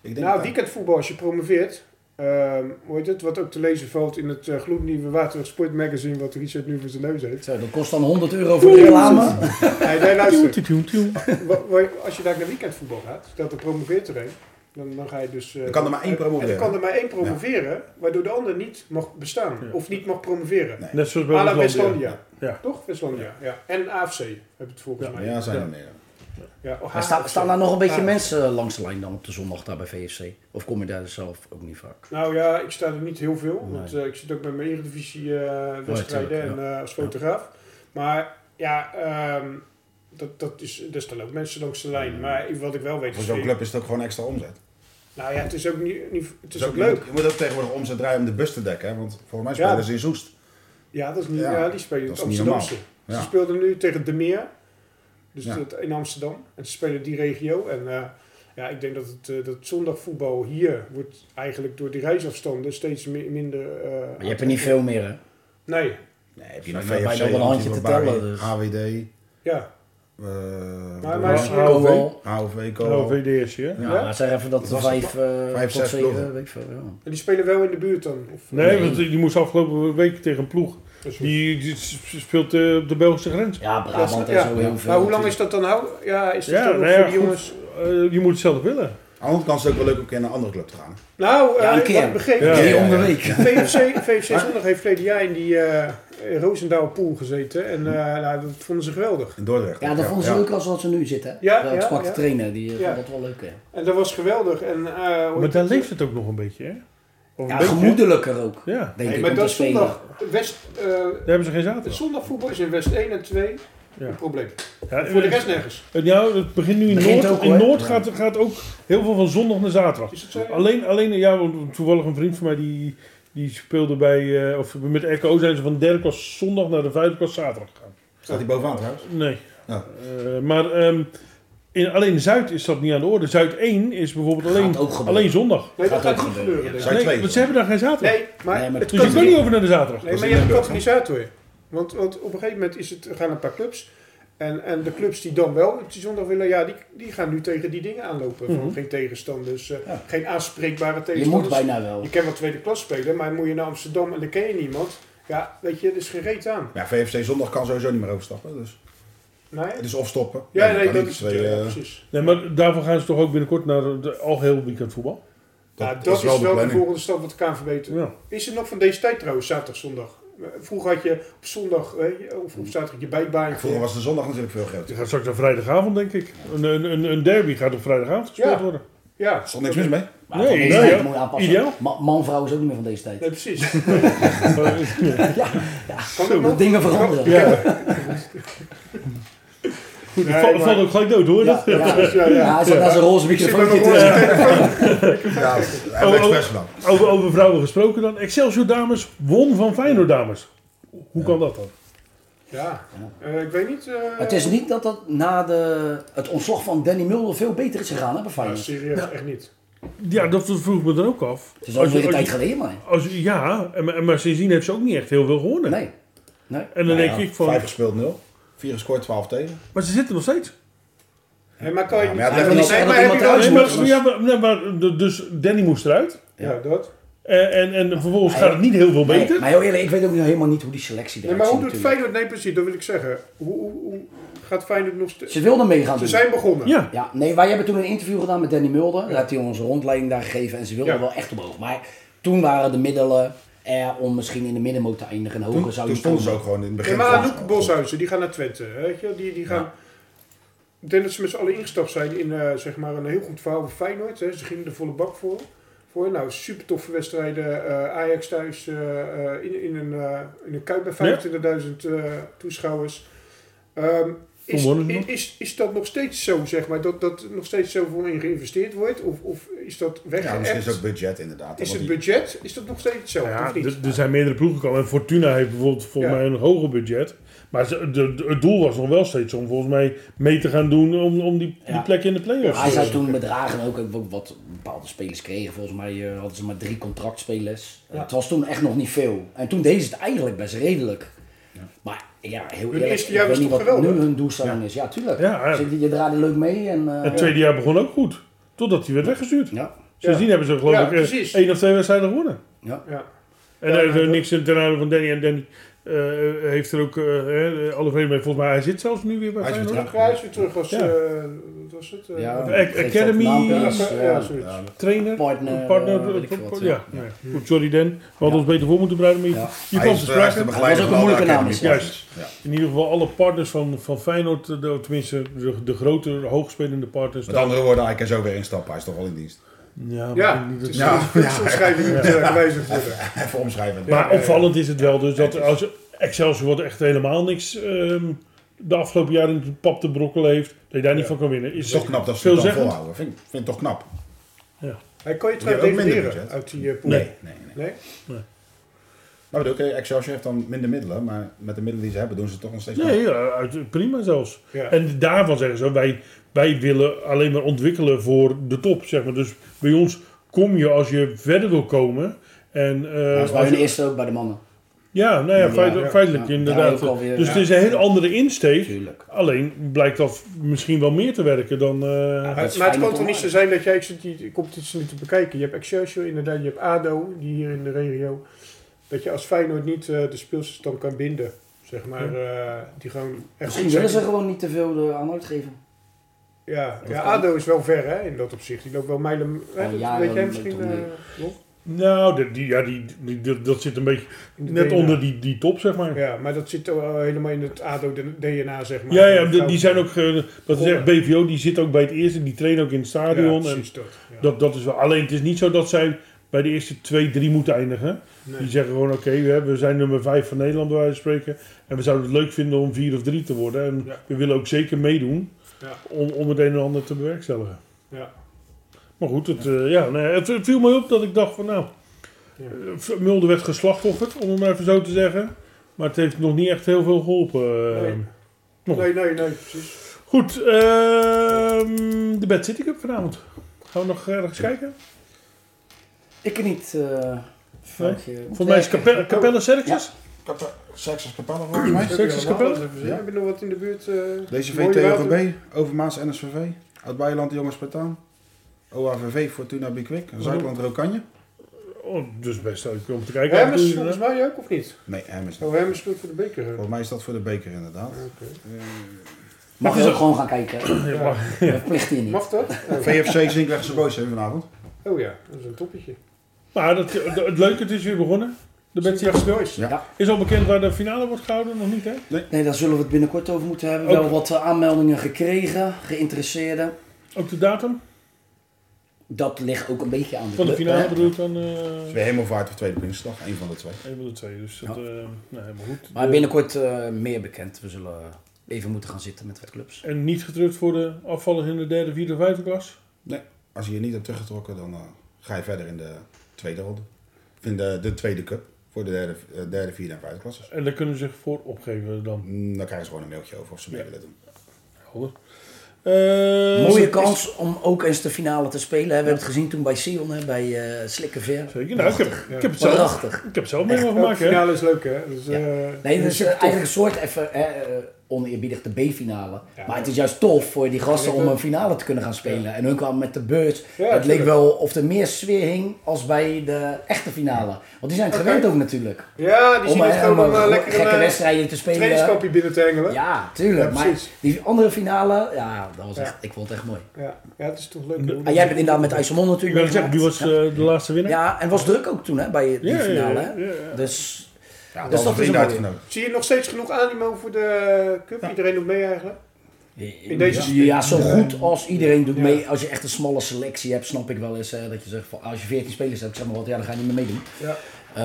Ik denk nou, dat- weekendvoetbal als je promoveert, ehm, hoe heet het, wat ook te lezen valt in het eh, gloednieuwe Waterweg Sport Magazine, wat Richard nu voor zijn neus heeft. Zo, dat kost dan 100 euro voor de reclame. Ah, nee, nee, Tjoen, luister. tjoen, tjoen, tjoen. Wa- wa- Als je daar naar weekendvoetbal gaat, stelt er promoveert er een, dan, dan ga je dus... eh, Er kan er maar één En promoveren. er kan er maar één promoveren, waardoor de ander niet mag bestaan. Ja. Of niet mag promoveren. Nee. Net zoals bij ah, Ala Westlandia. Westlandia. Ja. Toch? Westlandia. Ja. En AFC hebben het volgens mij. Ja, zijn Ja. er meer. Ja, Ah, oh, Maar AFC. sta- staan daar nog een beetje Ja. mensen eh, langs de lijn dan op de zondag daar bij VFC? Of kom je daar zelf ook niet vaak? Nou ja, ik sta er niet heel veel. Want Nee. eh, ik zit ook met mijn eredivisie eh wedstrijden tuurlijk, en eh, als fotograaf. Maar ja, ehm, dat, dat is, er staan ook mensen langs de lijn. Maar wat ik wel weet Voor is... zo'n club is het ook gewoon extra omzet. Nou ja, het is ook, niet, niet- het is ook Je leuk. moet- Je moet Dus ook tegenwoordig omzet draaien om de bus te dekken. hè, Want volgens mij spelen Ja. ze in Zoest. Ja, dat is niet, ja. Ja. die spelen in Dat het is niet Amsterdamse. normaal. Ze Ja. speelden nu tegen De Meer, dus Ja. dat in Amsterdam. En ze spelen die regio. En eh, ja, ik denk dat het eh, dat zondagvoetbal hier wordt eigenlijk door die reisafstanden steeds mi- minder... eh, Maar je hebt er niet veel meer hè? Nee, Nee, heb je Nou, nog bijna VFC, wel een handje Antwerpen, te tellen, Bari, dus. HWD, ja. eh, Maar, Rotterdam, maar Rotterdam. ze- HOV. Kom wel. HOV, Oh, Kool. VDS, ja. Ja, Ja? laat zeggen even dat Dat de was het, vijf, eh Vijf, tot zes zeven, ploegen. weet ik veel. Ja. en die spelen wel in de buurt dan. Of, Nee, Nee. want die moest afgelopen week tegen een ploeg. Dus hoe- Die, die speelt eh, op de Belgische grens. ja, Brabant Ja, en zo heel veel. Maar hoe lang is natuurlijk. dat dan houden? Ja, is dat Ja, dan nog nou ja, voor die goed. jongens... Eh, je moet het zelf willen. Aan de andere kant is het ook wel leuk om een keer naar een andere club te gaan. Nou, eh Ja, een ik had keer. begrepen... Ja. Drie Ja, ja, om de ja. week. VFC, VFC Zondag heeft verleden jaar in die eh Roosendaal pool gezeten. En eh, nou, dat vonden ze geweldig. In Dordrecht. Ja, dat vonden ze Ja. leuk als dat ze nu zitten. Ja, Ja, ik ja, sprak de ja. trainer, die eh, Ja. vond dat wel leuk. Hè. En dat was geweldig. En, eh, hoe Maar heet daar het? leeft het ook nog een beetje, hè? Of Ja, een beetje. gemoedelijker ook. Ja, Denk Nee, ik, maar om te dat is spelen. zondag. West, eh, daar hebben ze geen het zaterdag. zondagvoetbal is in West 1 en 2 Ja. een probleem. Ja, Voor de rest nergens. Het, nou, het begint nu in Begint Noord. ook, in hoor. Noord gaat, gaat ook heel veel van zondag naar zaterdag. Is het zo? Alleen, alleen ja, want toevallig een vriend van mij die, die speelde bij, eh, of met RKO zijn ze van de derde klas zondag naar de vijfde klas zaterdag gegaan. Staat hij bovenaan trouwens? Nee. Ja. Eh, maar ehm, in, alleen in Zuid is dat niet aan de orde. Zuid 1 is bijvoorbeeld alleen, Gaat ook gebeuren. alleen zondag. Nee, Gaat dat gaat ook niet gebeuren. gebeuren, ja. denk ik. Zuid nee, 2. want ze hebben daar geen zaterdag. Nee, maar, Nee, maar het dus je kan kan niet over naar de zaterdag. Nee, Dat maar is je in hebt Limburg, kat niet uit hoor. Want, want op een gegeven moment is het, er gaan een paar clubs. En, en de clubs die dan wel op die zondag willen, ja, die, die gaan nu tegen die dingen aanlopen. Mhm. Van geen tegenstanders, eh, Ja. geen aanspreekbare Je moet tegenstanders. bijna wel. Je kan wel tweede klas spelen, maar moet je naar Amsterdam en dan ken je niemand. Ja, weet je, er is geen reet aan. Ja, VFC zondag kan sowieso niet meer overstappen. Dus Nee? het is of stoppen. Ja, dan nee, kan dat niet. is Twee, natuurlijk- ja, eh, precies. Nee, maar daarvoor gaan ze toch ook binnenkort naar de, al heel weekend voetbal? dat, Ja, Nou, dat is wel, de, planning. volgende stap wat de KNVB doet. Ja. Is er nog van deze tijd trouwens, zaterdag, zondag? Eh, Vroeger had je op zondag eh, of op zaterdag je bijbaan. Ja, Vroeger was de zondag natuurlijk veel groter. Die gaat straks naar vrijdagavond, denk ik. Een, een, een, een derby gaat op vrijdagavond gespeeld Ja. worden. Ja, Er stond niks mis mee. Maar Nee, van deze nee, tijd ja. moet je aanpassen. Ideaal. Ma- Man-vrouw is ook niet meer van deze tijd. Nee, precies. Eh, Ja, dat dingen veranderen. Ja. Goed, het Nee, valt- maar- valt ook gelijk dood, hoor. Ja, Dat- ja. Ja, ja. Ja, hij zat naar zijn roze microfoontje te- Ja, dat hebben we oh. expres gedaan. Over, over vrouwen gesproken dan. Excelsior dames won van Feyenoord dames. Hoe kan dat dan? Ja, Eh, ik weet niet. eh, Maar Het is niet dat dat na de, het ontslag van Danny Mulder veel beter is gegaan hè, bij ja, Feyenoord. Ah, serieus, echt niet. Ja, dat vroeg ik me dan ook af. Het is alweer een tijd je- geleden, maar. als je- ja, en- en- maar sindsdien heeft ze ook niet echt heel veel gewonnen. Nee. nee. En dan denk Nou Ja, ik van, Vijf gespeeld, nul. Vier gescoord, 12 tegen. maar ze zitten nog steeds. Hé, maar kan je Ja, niet. maar ja, Hij wil niet zeggen maar dat heb iemand je wel- eruit Nee, moet. maar, ja, maar, nee, maar d- dus Danny moest eruit. Ja, dat. En, Eh, en, en vervolgens Nee. gaat het niet heel veel Nee, beter. maar heel eerlijk, ik weet ook nog helemaal niet hoe die selectie Nee, eruit maar hoe ziet doet natuurlijk. Feyenoord? Nee, precies, dat wil ik zeggen. Hoe, hoe, hoe gaat Feyenoord nog steeds. Ze wilden meegaan Ze doen. zijn begonnen. Ja, Ja, nee, wij hebben toen een interview gedaan met Danny Mulder. Daar heeft hij ons een rondleiding daar gegeven en ze wilden Ja. wel echt omhoog. Maar toen waren de middelen er om misschien in de middenmoot te eindigen. En hoger Toen, zou toen je stonden ze komen. ook gewoon in het begin. Ja, maar van- Anouk Boshuizen, die gaan naar Twente. Weet je? Die, die gaan... Ik denk dat ze met z'n allen ingestapt zijn in eh, zeg maar een heel goed verhaal van Feyenoord. Hè? Ze gingen de volle bak voor. voor. Nou, super toffe wedstrijden. eh, Ajax thuis eh, eh, in, in, een, eh, in een kuip bij 25.000 eh, toeschouwers. Ehm, is, Hoe worden ze i- nog? is, is dat nog steeds zo, zeg maar, dat, dat er nog steeds zoveel in geïnvesteerd wordt? Of, of is dat Ja, misschien weggeëpt? is het ook budget inderdaad. is want het die- budget, is dat nog steeds hetzelfde? ja of niet? er, er zijn meerdere ploegen gekomen. En Fortuna heeft bijvoorbeeld volgens Ja. mij een hoger budget. Maar ze- de- de- het doel was nog wel steeds om volgens mij mee te gaan doen om, om die, Ja. die plek in de play-offs. eh, Hij zou toen bedragen ook, ook wat bepaalde spelers kregen. Volgens mij eh, hadden ze maar drie contractspelers. Het was toen echt nog niet veel. En toen deden ze het eigenlijk best redelijk. Maar ja, heel Hun eerlijk, eerste ik jaar weet was niet toch wat nu geweldig? hun doelstelling is. Ja, tuurlijk. Ja, ja. Ze- je draaide leuk mee en... eh, Het tweede jaar begon ook goed. Totdat hij werd weggestuurd. ja, Sindsdien hebben ze geloof Ja, ik eh, precies. één of twee wedstrijden gewonnen. ja. Ja. En Ja, er is ja, eh, dat- niks ten aanzien van Danny. En Danny eh, heeft er ook eh, hè, alle vrede mee. Volgens mij, hij zit zelfs nu weer bij Hij is weer Feyenoord. terug. Ja, hij is weer terug als, Ja. eh wat was het? eh, Ja, Ac- geeft Academy- dat naam, is, ja, eh, ja, zoiets. Ja, Trainer, Partner, partner, eh, weet ik pro- veel pro- ja. wat, ja. Nou ja. Goed, sorry Dan. We hadden ons beter voor moeten bereiden. Maar je, Ja. je Hij kwam is te de- hij is de sprake. begeleider Dat van was ook alle een moeilijke naam, Juist. academies. Ja. In ieder geval alle partners van, van Feyenoord. eh, de- tenminste, de, de grote, hoogspelende partners. Met andere woorden, hij kan zo weer instappen. Hij is toch al in dienst. Ja, maar Ja, niet- het is Ja, ja, omschrijving moet eh, gewijzigd worden. Even omschrijven. Maar opvallend is het wel dus dat als Excelsior wordt echt helemaal niks ehm, de afgelopen jaren in het pap te brokkelen heeft, dat je daar niet van kan winnen. Het Is is toch knap dat ze het dan veelzeggend. volhouden. Vind, ik- vind ik toch knap. Hij kan je Die hebben trouwens ook minder degraderen budget. uit die eh, pool. Nee. nee, nee. Nee? Maar bedoel, ik, eh, Excelsior heeft dan minder middelen. Maar met de middelen die ze hebben doen ze het toch nog steeds Nee, ja, uit- prima zelfs. Ja. En daarvan zeggen ze, wij, wij willen alleen maar ontwikkelen voor de top, zeg maar. Dus bij ons kom je als je verder wil komen. En, eh, Dat was bij als hun je- eerste ook bij de mannen. ja, nou ja, feit- ja. feitelijk Ja, inderdaad. daar ook alweer, dus ja. het is een hele andere insteek. Tuurlijk. Alleen blijkt dat misschien wel meer te werken dan... eh, Maar, is maar het fijn kan om toch niet te zo zijn dat jij ik zit die competitie niet te bekijken. Je hebt Excelsior inderdaad, je hebt ADO, die hier in de regio. Dat je als Feyenoord niet eh, de speelstand kan binden. Zeg maar, eh, die gewoon echt Misschien goed zijn. willen ze gewoon niet te veel eh, aandacht geven. Ja, ja kan. ADO is wel ver hè, in dat opzicht. Die loopt wel mijlen... Al Hè, dat jaren weet jij loopt misschien, het om eh, mee. Rob? nou, die, die- ja, die, die- dat- dat zit een beetje In de net DNA. onder die, die top, zeg maar. Ja, maar dat zit eh, helemaal in het ADO-DNA, zeg maar. Ja, ja, die- die zijn ook, eh, wat ze zeggen, Goor. BVO, die zit ook bij het eerste, die trainen ook in het stadion. Ja, en precies dat. Ja. dat, dat is wel, alleen het is niet zo dat zij bij de eerste twee, drie moeten eindigen. Nee. Die zeggen gewoon, oké, we, hebben- we zijn nummer vijf van Nederland bij wijze van spreken. En we zouden het leuk vinden om vier of drie te worden. En Ja. we willen ook zeker meedoen Ja. om, om het een en ander te bewerkstelligen. Ja. Maar goed, het, eh, ja, nee, het, het viel mij op dat ik dacht van, nou, Ja. eh, Mulder werd geslachtofferd, om het maar even zo te zeggen. Maar het heeft nog niet echt heel veel geholpen. eh. Nee. Nog. Nee, nee, nee, precies. Goed, ehm, de Bad City Cup vanavond. Gaan we nog ergens kijken? Ik niet. eh vraag je- Volgens mij is Capelle, Capelle Circus. Kappa- Saxos Capella volgens mij. Circus Capelle. Ja. Heb je nog wat in de buurt? eh, DCV, mooie water? TOGB, Overmaas, NSVV, Oud-Beijerland, Jongens Spartaan, OAVV, Fortuna Bikwik, Zuidland, Rokanje. Oh, dus best leuk om te kijken. Hermes volgens eh, mij ook, of niet? Nee, Hem is dat. Oh, Hermes doet voor de beker. hè? Volgens mij is dat voor de beker inderdaad. Mag je ook gewoon gaan kijken. Ja, maar- Dat plicht hier niet. Mag dat? Oh. VFC Zinkrechtse Boys hè, vanavond. Oh ja, dat is een toppetje. Maar dat, het, het leuke, het is weer begonnen. De Bad City Cup. Nooit. Is al bekend waar de finale wordt gehouden? Nog niet, hè? Nee, daar zullen we het binnenkort over moeten hebben. Ook- Wel wat eh, aanmeldingen gekregen, geïnteresseerden. Ook de datum Dat ligt ook een beetje aan de van de club, finale hè. bedoelt dan... eh Twee Hemelvaart of Tweede Prinsdag, één van de twee. een van de twee, dus dat... eh nou, helemaal goed. Maar binnenkort eh, meer bekend. We zullen eh, even moeten gaan zitten met wat clubs. En niet gedrukt voor de afvallers in de derde, vierde, vijfde klas? Als je je niet hebt teruggetrokken, dan eh, ga je verder in de tweede ronde. Of in de, de tweede cup voor de derde, eh, derde vierde en vijfde klasses. En daar kunnen ze zich voor opgeven dan. Mm, Dan krijgen ze gewoon een mailtje over of ze mee Ja. willen doen. Helder. Eh, Mooie is- kans om ook eens de finale te spelen. hè. We hebben het gezien toen bij Sion, hè, bij eh Slikkever. Zeker. Nou, ik heb, ik heb het zelf, Prachtig. ik heb het zelf mee Ja, de gemaakt, hè? finale is leuk, hè? Dus, Ja. eh, Nee, dat is super eh, tof. eigenlijk een soort even hè, eh, oneerbiedig de B-finale. maar het is juist tof voor die gasten om een finale te kunnen gaan spelen. En hun kwamen met de beurs. het leek tuurlijk. wel of er meer sfeer hing als bij de echte finale. Want die zijn het gewend ook natuurlijk. Ja, die zien om het eh, gewoon om, om eh, eh, lekker gekke een eh, wedstrijden te spelen. trainingskampje binnen te hengelen. Ja. Ja, tuurlijk. Ja, maar precies. die andere finale, ja, dat was Ja. echt, ik vond het echt mooi. Ja. het is toch leuk. hoor. En jij bent inderdaad met IJsselmond Ik natuurlijk. wil zeggen, die meegemaakt. was eh, de laatste winnaar. ja, en het was druk ook toen hè, bij die Ja, ja, finale. ja, hè. ja, ja. Dus Ja, Dus dus dat dat is een is mooie. uitgenodigd. Zie je nog steeds genoeg animo voor de eh, cup? Iedereen doet mee eigenlijk? In deze Eh, ja, spin. ja, zo goed als iedereen doet Ja. mee. Als je echt een smalle selectie hebt, snap ik wel eens. Hè, dat je zegt, van, als je 14 spelers hebt, zeg maar wat, ja, dan ga je niet meer meedoen. Ja. Eh,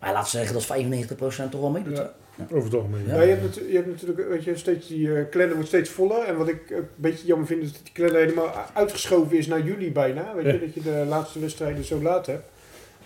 maar laten we zeggen dat 95% toch wel meedoet. Ja. hè? Over het algemeen. Ja. Ja, je, hebt natu- je hebt natuurlijk, weet je, steeds die eh, klennen wordt steeds voller. En wat ik een beetje jammer vind, is dat die klennen helemaal uitgeschoven is naar juli bijna. Weet Ja. je, dat je de laatste wedstrijden zo laat hebt.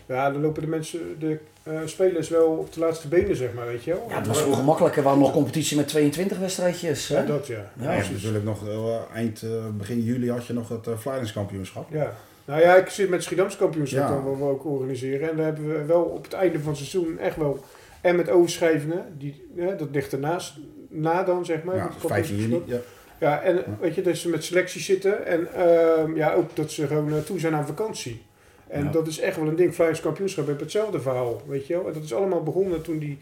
Ja, dan lopen de mensen, de eh, spelers wel op de laatste benen, zeg maar, weet je wel. Ja, het was vroeger makkelijker. Waarom nog competitie met 22 wedstrijdjes? Hè? Ja, dat ja. Ja, je hebt natuurlijk nog eh, eind, eh, begin juli had je nog het eh Vlaardingskampioenschap. Ja. Nou ja, ik zit met het Schiedamse kampioenschap Ja. dan wat we ook organiseren. En daar hebben we wel op het einde van het seizoen echt wel... En met overschrijvingen, die, hè, dat ligt ernaast, na dan zeg maar. Ja, het 15 juni. kampioenschap. Ja. Ja, en weet je, dat ze met selecties zitten. En ehm, ja, ook dat ze gewoon eh, toe zijn aan vakantie. En Ja. dat is echt wel een ding. Flyers kampioenschap heeft hetzelfde verhaal, weet je wel. En dat is allemaal begonnen toen die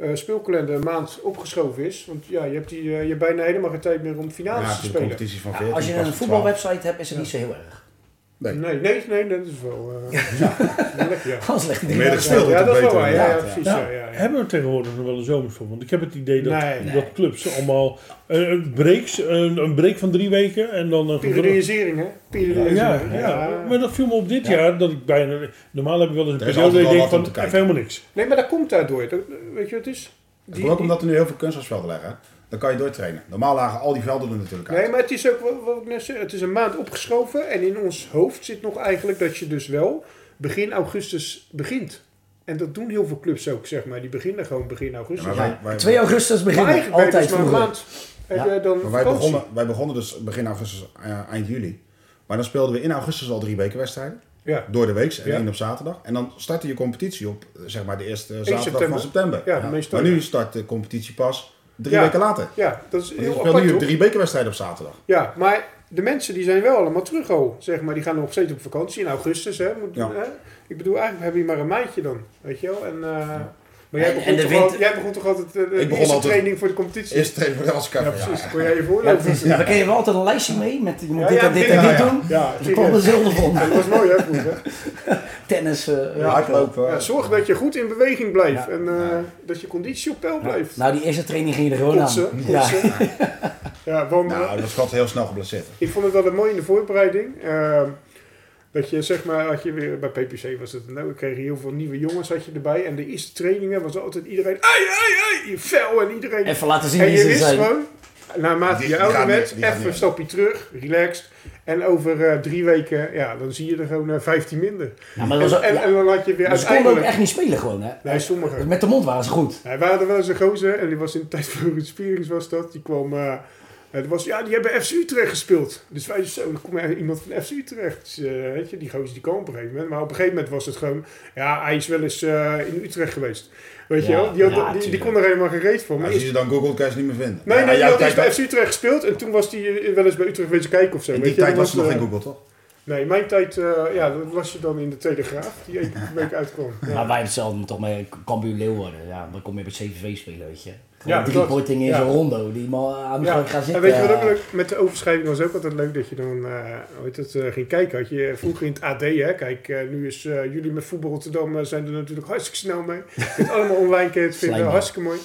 eh speelkalender een maand opgeschoven is. Want ja, je hebt, die, eh, je hebt bijna helemaal geen tijd meer om finales te Ja, voor de spelen. competities van Ja, 14. als je pas een tot 12. voetbalwebsite hebt, is het niet zo heel erg. Nee. Nee, nee, nee, dat is wel... eh, ja, lekker, ja. Anders legt Meer iedereen de gespeeld Ja, dat wordt, hoe is wel beter waar. Ja, ja, inderdaad, precies. Ja. Ja, ja, ja. Nou, Hebben we tegenwoordig nog wel een zomerschool? Want ik heb het idee dat, Nee. dat clubs allemaal eh, een, breaks, een, een break van drie weken en dan een Periodisering, hè? Ja, Periodisering. ja, maar dat viel me op dit jaar. Dat ik bijna, normaal heb ik wel eens een Er is periode dat ik altijd denk wel wat van om te even kijken. helemaal niks. Nee, maar dat komt daardoor. Dat- weet je wat het is? Het komt ook omdat er nu heel veel kunstgrasvelden liggen. hè. Dan kan je doortrainen. Normaal lagen al die velden er natuurlijk uit. Nee, maar het is ook wat, wat ik net zei. Het is een maand opgeschoven. En in ons hoofd zit nog eigenlijk dat je dus wel begin augustus begint. En dat doen heel veel clubs ook, zeg maar. Die beginnen gewoon begin Ja, augustus. maar maar, wij, wij, 2 augustus beginnen, eigenlijk ben je altijd dus maar een vroeger. maand. Heb jij dan maar wij, vakantie? begonnen, wij begonnen dus begin augustus, eh, eind juli. Maar dan speelden we in augustus al drie weken wedstrijden. Ja. Door de week en Ja. één op zaterdag. En dan startte je competitie op eh, zeg maar de eerste zaterdag september. van september. Ja, de meeste Maar ook. nu start de competitie pas drie Ja. weken later. Ja, dat is Want je heel speelt apart, nu toch? drie bekerwedstrijden op zaterdag. Ja, maar de mensen die zijn wel allemaal terug al, zeg maar. Die gaan nog steeds op vakantie in augustus, hè. Moet, Ja. hè? Ik bedoel, eigenlijk heb je maar een maandje dan, weet je wel. En, eh, Maar En- jij begon, en de toch winter- al- jij begon toch altijd eh, de begon eerste altijd- training voor de competitie? Eerst trainen voor de Elske Cup, ja. Precies, kon jij je Ja, dat voorlopen. is, Dan kun je wel altijd een lijstje mee met je moet Ja, dit ja, en dit dit- en ja, dit ja. doen. Ja, Er kwam er zilver van. dat was mooi, hè, vroeger. Tennis. eh, Ja, hardlopen. Ja, zorg dat je goed in beweging blijft Ja. en eh, dat je conditie op peil blijft. Nou, die eerste training ging je er gewoon Kotsen, aan. Ja. kotsen. Ja, wandelen. Nou, dat schat heel snel geblesseerd. Ik vond het wel een mooi in de voorbereiding. Ehm, dat je zeg maar, had je weer, bij PPC was het nou, we kregen heel veel nieuwe jongens had je erbij. En de eerste trainingen was altijd iedereen, ai, ai, ai, je fel en iedereen. Even laten zien en wie je ze wist zijn. gewoon, naarmate Die- je die ouder gaan werd, niet- die gaan even niet. een stapje terug, relaxed. En over eh, drie weken, ja, dan zie je er gewoon eh, 15 minder. Ja, Nou, maar En, dat was ook- en, ja, en dan had je weer maar ze konden ook uiteindelijk... echt niet spelen gewoon, hè? Nee, sommigen. Met de mond waren ze goed. Hij waren er wel eens een gozer en die was in de tijd van Ruud Spierings was dat. Die kwam eh, Eh, er was, ja, die hebben FC Utrecht gespeeld. Dus wij zo, dan komt er iemand van FC Utrecht. Dus, eh, weet je, die gozer die kwam op een gegeven moment. Maar op een gegeven moment was het gewoon... Ja, hij is wel eens eh, in Utrecht geweest. Weet je Ja, wel? Die, had- ja, die, die tuurlijk. kon er helemaal geen reet van. Maar Als je eerst- ze dan googelt, kan je ze niet meer vinden. Nee, Maar nee, die jouw had tijd eerst bij was- FC Utrecht gespeeld. En toen was hij eh, wel eens bij Utrecht wezen kijken of zo. In weet die je, tijd dat was er nog eh, geen Google, toch? Nee, mijn tijd, eh, ja, dat was je dan in de Telegraaf, die één week uitkwam. Ja. Maar wij hebben hetzelfde toch met Cambuur Leeuwarden. Ja, dan kom je bij CVV spelen, weet je. Ja, Ja, drie klopt. kortingen in Ja. zo'n rondo. Die man aan de Ja, gang Oh, gaan zitten. En weet je wat ook leuk? Met de overschrijving was ook altijd leuk dat je dan eh ooit het, eh, ging kijken. Had je vroeger in het AD, hè? Kijk, eh, nu is eh, jullie met voetbal Rotterdam eh, zijn er natuurlijk hartstikke snel mee. Je kunt allemaal online kun je het vinden, Slijm. hartstikke mooi.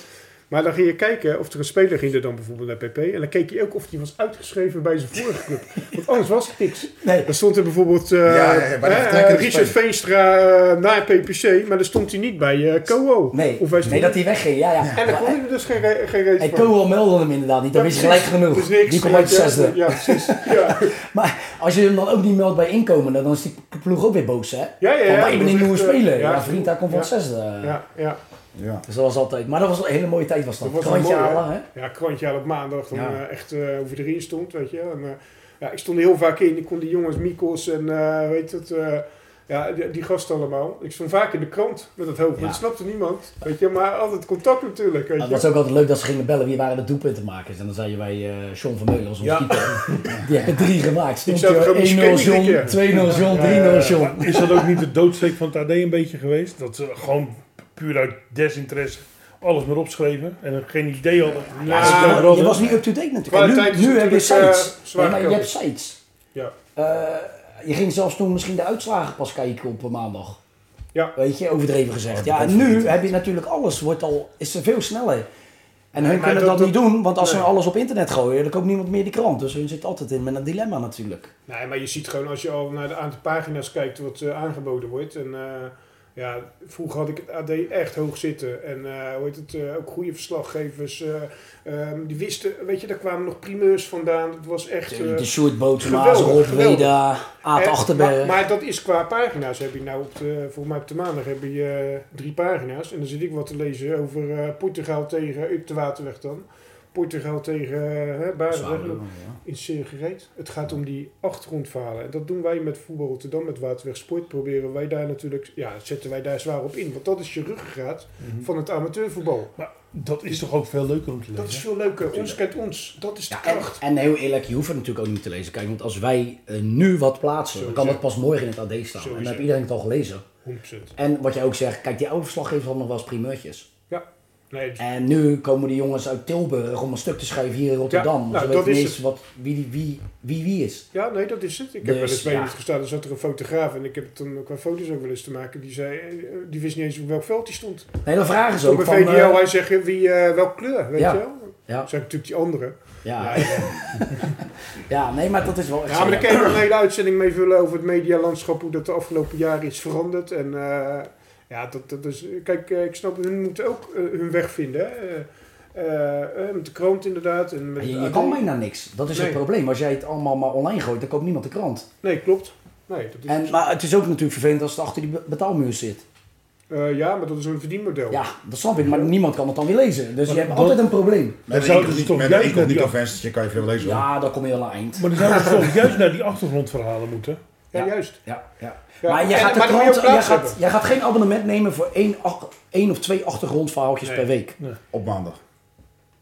Maar dan ging je kijken of er een speler ging er dan bijvoorbeeld naar PP. En dan keek je ook of die was uitgeschreven bij zijn vorige club. Want anders was het niks. Nee, Dan stond er bijvoorbeeld eh, Ja, ja, ja, bij de eh, vertrekkende Richard speler. Veenstra eh, na PPC, maar daar stond hij niet bij eh Coho. nee, Of wij stonden- nee dat hij wegging. Ja, ja. En dan kon hij er dus geen, re- geen reet Hey, van. Kowal meldde hem inderdaad niet. Dan is gelijk genoeg. Dus niks. Oh, die komt uit de Ja, zesde. Ja, precies. Ja, Maar als je hem dan ook niet meldt bij inkomende, dan is die ploeg ook weer boos, hè? ja, ja. Van, ja, maar je bent een dat nieuwe is, eh, speler. Ja, ja, vriend, daar komt van ja. het zesde. Ja, ja. Ja. Dus dat was altijd... Maar dat was een hele mooie tijd, was dat. Dat was wel Krantje mooi, hè? halen, hè? Ja, krantje aan op maandag, dan Ja. eh, echt eh over erin stond, weet je. En, eh, ja, ik stond er heel vaak in. Ik kon die jongens, Mikos en eh, weet het... eh, ja, die, die gasten allemaal. Ik stond vaak in de krant met het hoofd. maar Ja. Dat snapte niemand. Weet je, maar altijd contact natuurlijk. Weet Maar je. Het was ook altijd leuk dat ze gingen bellen wie waren de doelpuntenmakers. En dan zeiden wij eh John Vermeulen als onze Ja. keeper. Die hebben drie gemaakt. Ik Stond zou toch ook je 1-0 misschien niet een John, 2-0 keer. John, 3-0 Ja, ja, ja. John. Eh, Is dat ook niet de doodsteek van het AD een beetje geweest? Dat ze gewoon puur uit desinteresse alles maar opschreven en er geen idee hadden. Ja, Ze maar het ook Ah, je hadden. was niet up-to-date natuurlijk. Kwaliteit eh, is Nu, nu heb je natuurlijk, eh, sites. zwaar Nee, maar je gekomen. hebt sites. Ja. Eh, je ging zelfs toen misschien de uitslagen pas kijken op een maandag. Ja. Weet je, overdreven gezegd. Oh, Ja, dat en is nu niet. heb je natuurlijk alles. Wordt al, is er veel sneller. En hun maar kunnen dat- dat, niet dat- doen, want als nee. ze alles op internet gooien, dan koopt niemand meer die krant. Dus hun zit altijd in met een dilemma natuurlijk. Nee, maar je ziet gewoon als je al naar de aantal pagina's kijkt wat eh, aangeboden wordt. En eh, ja, vroeger had ik het AD echt hoog zitten. En eh, hoe heet het, eh, ook goede verslaggevers. eh, ehm, die wisten, weet je, daar kwamen nog primeurs vandaan. Dat was echt... eh, De Sjoerd Bootsma, geweldig, Rob geweldig. Reda, Aad en- Achterberg. Maar, maar dat is qua pagina's. Heb je nou op de, volgens mij op de maandag heb je eh, drie pagina's. En dan zit ik wat te lezen over eh, Portugal tegen, up de Waterweg dan. Portugal tegen eh Barendrecht in zeer gereed. Het gaat om die achtergrondverhalen. En dat doen wij met Voetbal Rotterdam, met Waterweg Sport. Proberen wij daar natuurlijk, ja, zetten wij daar zwaar op in. Want dat is je ruggengraat Mhm. van het amateurvoetbal. Dat is toch ook veel leuker om te lezen? Dat is veel leuker. Ons kent ons. Dat is de Ja, en, kracht. en heel eerlijk, je hoeft het natuurlijk ook niet te lezen. Kijk, want als wij eh, nu wat plaatsen, dan kan Sowieso. dat pas morgen in het AD staan. En Sowieso. dan heb iedereen het al gelezen. 100%. En wat je ook zegt, kijk, die oude verslaggevers hadden nog wel eens primeurtjes. Nee, dus- En nu komen die jongens uit Tilburg om een stuk te schrijven hier in Rotterdam. nou, Ze dat weten niet is eens wat, wie, die, wie, wie wie is. ja, nee, dat is het. Ik heb Dus, wel eens bij ja. iemand gestaan. Er zat er een fotograaf. En ik heb toen qua foto's ook wel eens te maken. Die zei, eh, die wist niet eens op welk veld die stond. Nee, dan vragen ze Op ook een van... eh, VDL, hij zegt, eh, wie, eh, welke kleur, weet Ja. je wel? ja, Ah, Dat zijn natuurlijk die anderen. ja, Ja, ja, nee, maar dat is wel echt... Ja, maar daar zo. kun je nog een hele uitzending mee vullen over het medialandschap, hoe dat de afgelopen jaren is veranderd. En eh, ja, dat, dat is, kijk, eh, ik snap, hun moeten ook eh, hun weg vinden. hè. Eh, eh, eh, met de krant inderdaad. En met Ah, je, het je AD. kan bijna niks. Dat is Nee. het probleem. Als jij het allemaal maar online gooit, dan koopt niemand de krant. Nee, klopt. Nee, dat Dus is, En, maar het is ook natuurlijk vervelend als het achter die be- betaalmuur zit. Eh, ja, maar dat is een verdienmodel. Ja, dat snap ik, maar niemand kan het dan weer lezen. Dus Maar je hebt dat- altijd een probleem. Met een dus zouden ze incognito- toch met een juist naar die incognito af- venstertje kan je veel lezen. hoor. Ja, dan kom je wel aan het eind. Maar dan zouden ze toch juist naar die achtergrondverhalen moeten? Ja, Ja. juist. Ja, ja. Ja, Maar, jij en- gaat, de maar dan moet je krant, ook jij, plaats gaat, hebben. jij gaat geen abonnement nemen voor één, ach- één of twee achtergrondverhaaltjes Nee. per week. Op maandag.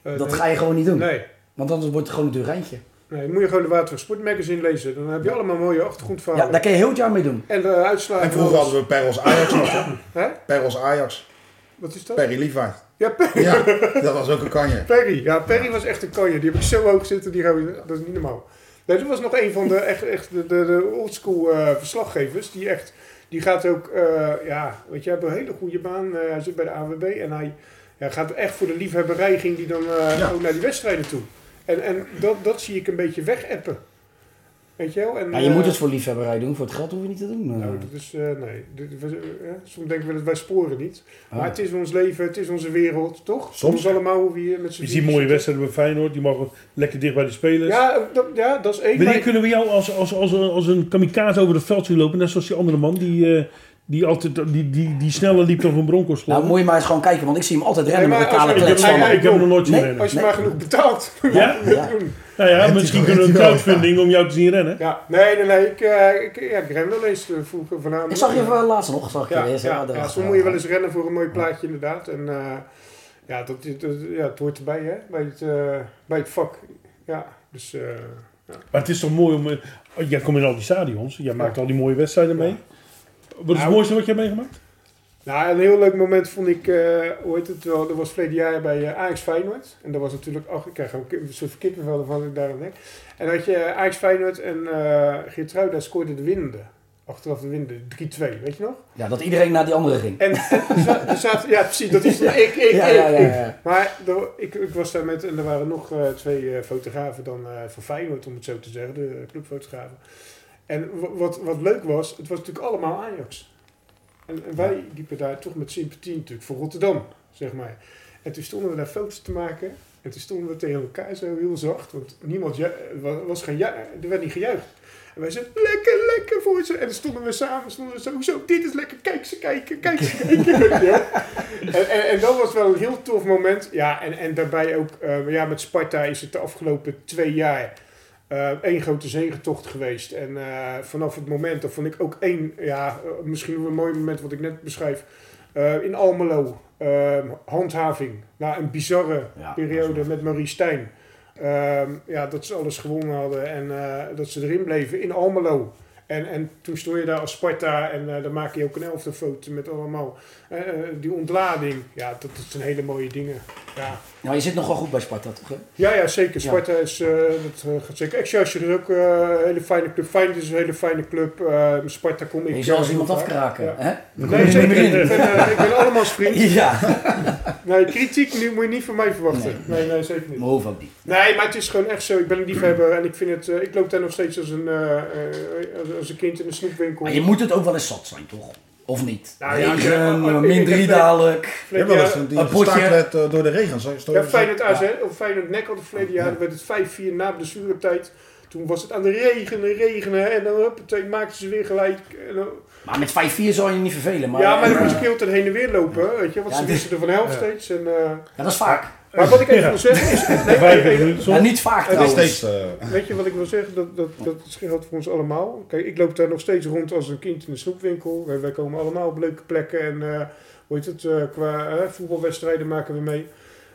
Eh, Dat nee. ga je gewoon niet doen. Nee. Want anders wordt het gewoon een duur rijntje. nee, moet je gewoon de Waterweg Sport Magazine lezen. Dan heb je allemaal mooie achtergrondverhalen. Ja, daar kun je heel het jaar mee doen. En de uitslagen. En vroeger hadden we Perros Ajax nog. hè? Hè? Perros Ajax. Wat is dat? Perry Levi. Ja, Perry. Ja, dat was ook een kanje. Perry. Ja, Perry was echt een kanje. Die heb ik zo hoog zitten. Die gozer. dat is niet normaal. Nee, dat was nog een van de, echt, echt de, de, de oldschool eh, verslaggevers. Die echt, die gaat ook, eh, ja, weet je, hij heeft een hele goede baan. Eh, hij zit bij de AWB en hij ja, gaat echt voor de liefhebberij, ging die dan eh, Ja. ook naar die wedstrijden toe. En, en dat, dat zie ik een beetje wegappen. Weet je wel? En, Ja, Nou, je eh, moet het voor liefhebberij doen, voor het geld hoef je niet te doen. nou, dat is, eh, nee. Dit- we- eh, soms denken we dat wij sporen niet. Ah. Maar het is ons leven, het is onze wereld, toch? Soms. Ons allemaal hoe we hier met z'n Je ziet drieën mooie zitten. wedstrijden bij Feyenoord, die mogen lekker dicht bij de spelers. Ja, eh, dat, ja, dat is één. Wanneer maar- kunnen we jou als, als, als, als een kamikaze over het veld zien lopen, net zoals die andere man die, eh, die, altijd, die, die, die sneller liep dan Van Bronckhorst? nou, moet je maar eens gewoon kijken, want ik zie hem altijd rennen Nee, met maar een kale als je- ik, heb, kletsel. Nee, ik heb hem nog nooit zien Nee. rennen. Als je maar genoeg betaalt. Ja? moet je het doen. Nou ja, Rent hij misschien wel, kunnen we een rent hij wel, crowdfunding om jou te zien rennen. Ja, nee, nee, nee. Ik, eh, ik, ja, ik ren wel eens eh, vroeger vanavond. Ik zag je van laatst nog, zag ik Ja, je ja, weer. ja, soms moet je wel eens rennen voor een mooi plaatje inderdaad. En eh, ja, dat, dat- ja, het hoort erbij hè, bij het, eh, bij het vak. Ja, dus eh, Maar het is toch mooi om... eh, oh, Jij komt in al die stadions. Jij maakt al die mooie wedstrijden mee. Wat is het Nou, mooiste wat jij hebt meegemaakt? Nou, een heel leuk moment vond ik, eh hoe heet het wel, dat was verleden jaar bij eh, Ajax Feyenoord. En dat was natuurlijk, ach, ik krijg ook een soort kippenvel van ik daar aan denk. En dan had je eh, Ajax Feyenoord en eh Geertruida scoorde de winnende. Achteraf de winnende, 3-2, weet je nog? Ja, dat iedereen naar die andere ging. En, en er za- er zaten, ja precies, dat is ik, ik, Ja, ik, ja, ja, ik. ja. Maar er- ik, ik was daar met, en er waren nog eh, twee eh, fotografen dan eh, van Feyenoord, om het zo te zeggen, de eh, clubfotografen. En wa- wat, wat leuk was, het was natuurlijk allemaal Ajax. En, en wij liepen daar toch met sympathie natuurlijk voor Rotterdam, zeg maar. En toen stonden we daar foto's te maken. En toen stonden we tegen elkaar zo heel zacht, want niemand ju- wa- was geen ju- er werd niet gejuicht. En wij zeiden, lekker, lekker voor ze. En dan stonden we samen, stonden we zo, hoezo, dit is lekker, kijk ze kijken, kijk ze kijken. Ja. En, en, en dat was wel een heel tof moment. Ja, en, en daarbij ook, eh, ja, met Sparta is het de afgelopen twee jaar eh, één grote zegentocht geweest. En eh, vanaf het moment, dat vond ik ook één, ja, eh, misschien wel een mooi moment wat ik net beschrijf, eh, in Almelo, eh, handhaving, na een bizarre Ja, periode dat is met Marie Stijn. Ehm, ja, dat ze alles gewonnen hadden en eh, dat ze erin bleven in Almelo. En, en toen stond je daar als Sparta en eh, dan maak je ook een elfde foto met allemaal eh, eh, die ontlading. Ja, dat, dat zijn hele mooie dingen. Ja, Nou, je zit nog wel goed bij Sparta, toch? hè? ja, ja zeker. Ja. Sparta is, eh, dat eh, gaat zeker. Excelsior is ook eh, een hele fijne club. Feyenoord is een hele fijne club. Eh, Sparta kom ik... Je zal eens eh, iemand vaak. afkraken. Ja. Hè? Nee, zeker. niet. Ik ben, eh, ik ben allemaal vriend. Ja, Nee, kritiek nu moet je niet van mij verwachten. Nee, nee, zeker niet. maar hoeft ook niet. Nee, maar het is gewoon echt zo. Ik ben een liefhebber en ik vind het. eh, ik loop daar nog steeds als een, eh, eh, als, als een kind in een snoepwinkel. Maar je moet het ook wel eens zat zijn, toch? Of niet? Nou, ja, ik- Regen, ik- ik- min ik- drie ik- dadelijk. Je hebt Verleden wel eens jaar- een die Een potje. gestaakt werd eh, door de regen. Zo, zo- ja, Feyenoord AZ, of Feyenoord Nek had het verleden jaar. Dan werd het 5-4 na blessuretijd. Toen was het aan de regenen, regenen. En dan huppatee, maakten ze weer gelijk. En dan- Maar met 5-4 zal je niet vervelen. Maar, ja, maar dan eh, moest ik heel de tijd heen en weer lopen. Weet je, want Ja, ze dit- wisten er van de helft steeds. En, eh, ja, dat is vaak. maar wat ik even Ja. wil zeggen is... nee, Vijf nee, nee, minuten Maar soms. niet vaak Het is Nog trouwens. steeds. eh, Weet je wat ik wil zeggen? Dat, dat, dat geldt voor ons allemaal. Kijk, ik loop daar nog steeds rond als een kind in de snoepwinkel. Wij, wij komen allemaal op leuke plekken. En eh, hoe heet het? eh, qua eh, voetbalwedstrijden maken we mee.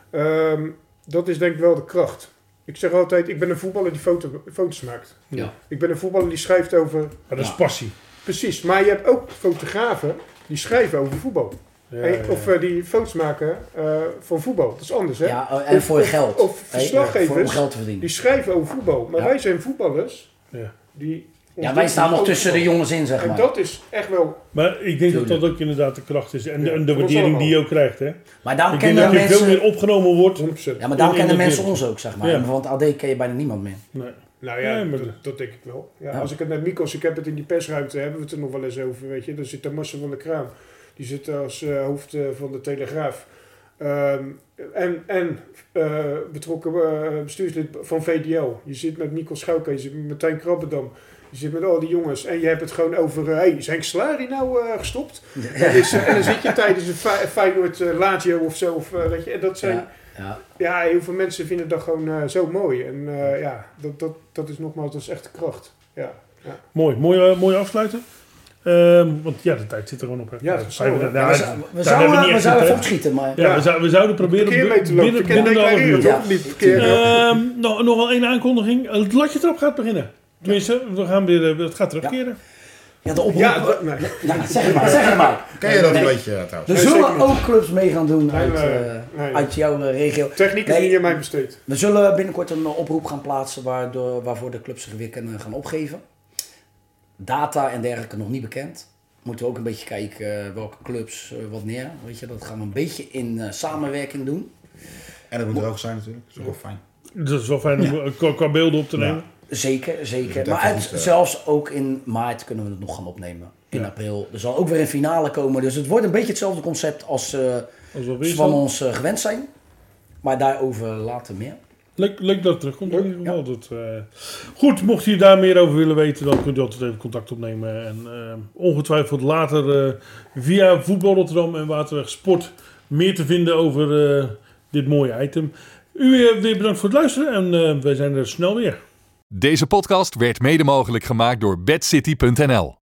Ehm, dat is denk ik wel de kracht. Ik zeg altijd, ik ben een voetballer die foto, foto's maakt. Ja. Ik ben een voetballer die schrijft over... Maar dat is passie. Precies, maar je hebt ook fotografen die schrijven over voetbal. Ja, En- ja. Of eh, die foto's maken eh, van voetbal. Dat is anders, hè? Ja, eh, en voor je Of- geld. of Hè? verslaggevers. Voor om geld te verdienen. Die schrijven over voetbal. Maar Ja. wij zijn voetballers Ja. die... Ja, wij staan nog over tussen de voetbal. jongens in, zeg En maar. dat is echt wel... Maar ik denk dat Tuurlijk. dat ook inderdaad de kracht is. En de, Ja, en de dat is waardering die je allemaal. ook krijgt. Hè? maar daarom Ik denk kennen dat je veel mensen... meer opgenomen wordt. 100%. Ja, maar daarom in- in kennen de mensen wereld. ons ook, zeg maar. Ja. Want Want AD ken je bijna niemand meer. Nee. Nou ja, Nee, maar dat, dat- dat denk ik wel. Ja, Ja. Als ik het met Mikos, ik heb het in die persruimte, hebben we het er nog wel eens over, weet je. Dan zit daar Marcel van der Kraan. Die zit daar als eh, hoofd eh, van de Telegraaf. Ehm, en en eh, betrokken eh, bestuurslid van VDL. Je zit met Mikos Schouke, je zit met Martijn Krabbendam. Je zit met al die jongens en je hebt het gewoon over... Hé, hey, is Henk Slari nou eh, gestopt? En, is, eh, en dan zit je tijdens een Fe- Feyenoord eh, Lazio of zo. Of, eh, weet je, en dat zijn... Ja, ja. Ja, heel veel mensen vinden dat gewoon eh, zo mooi. En eh, ja, dat, dat, dat is nogmaals, dat is echt de kracht. Ja, Mooi, mooi, eh, mooi afsluiten. Ehm, want ja, de tijd zit er gewoon op. hè. Ja, dat is zo, hè. Nou, Ja, daar we, zou- hebben we niet zouden, echt we zouden zin, hè. voortschieten, maar... Ja, Ja. we, zou- we zouden proberen Verkeer mee te binnen- lopen, je kan binnen de half declareren uur. Ja. toch? Niet verkeer. Ehm, nou, nog wel één aankondiging. Het latje erop gaat beginnen. Tenminste, we gaan weer, eh, het gaat terugkeren. Ja, de oproep... Ja, Ja, dat- nee. zeg het maar, zeg het maar. Ken je dat een Nee. beetje eh, trouwens? Er Nee, zullen zeker niet. ook clubs mee gaan doen Nee, uit, nee, eh, nee. uit jouw eh, regio. Techniek is Nee. niet aan mij besteed. We zullen binnenkort een eh, oproep gaan plaatsen waardoor, waarvoor de clubs zich weer kunnen gaan opgeven. Data en dergelijke nog niet bekend. Moeten we ook een beetje kijken eh, welke clubs eh, wat neer. Weet je, dat gaan we een beetje in eh, samenwerking doen. En het moet droog zijn natuurlijk. Dat is ook wel fijn. Dat is wel fijn om eh, qua, qua beelden op te nemen. Zeker, zeker. dat Maar even het- goed, eh. zelfs ook in maart kunnen we het nog gaan opnemen. In april. Er zal ook weer een finale komen. Dus het wordt een beetje hetzelfde concept als eh, Als we ze weer van zijn. ons eh, gewend zijn. Maar daarover later meer. Leuk, leuk dat het terugkomt in ieder geval. Dat, eh, Goed, mocht je daar meer over willen weten, dan kunt u altijd even contact opnemen. En eh, ongetwijfeld later eh, via Voetbal Rotterdam en Waterweg Sport meer te vinden over eh, dit mooie item. U eh, weer bedankt voor het luisteren en eh, wij zijn er snel weer. Deze podcast werd mede mogelijk gemaakt door bedcity.nl.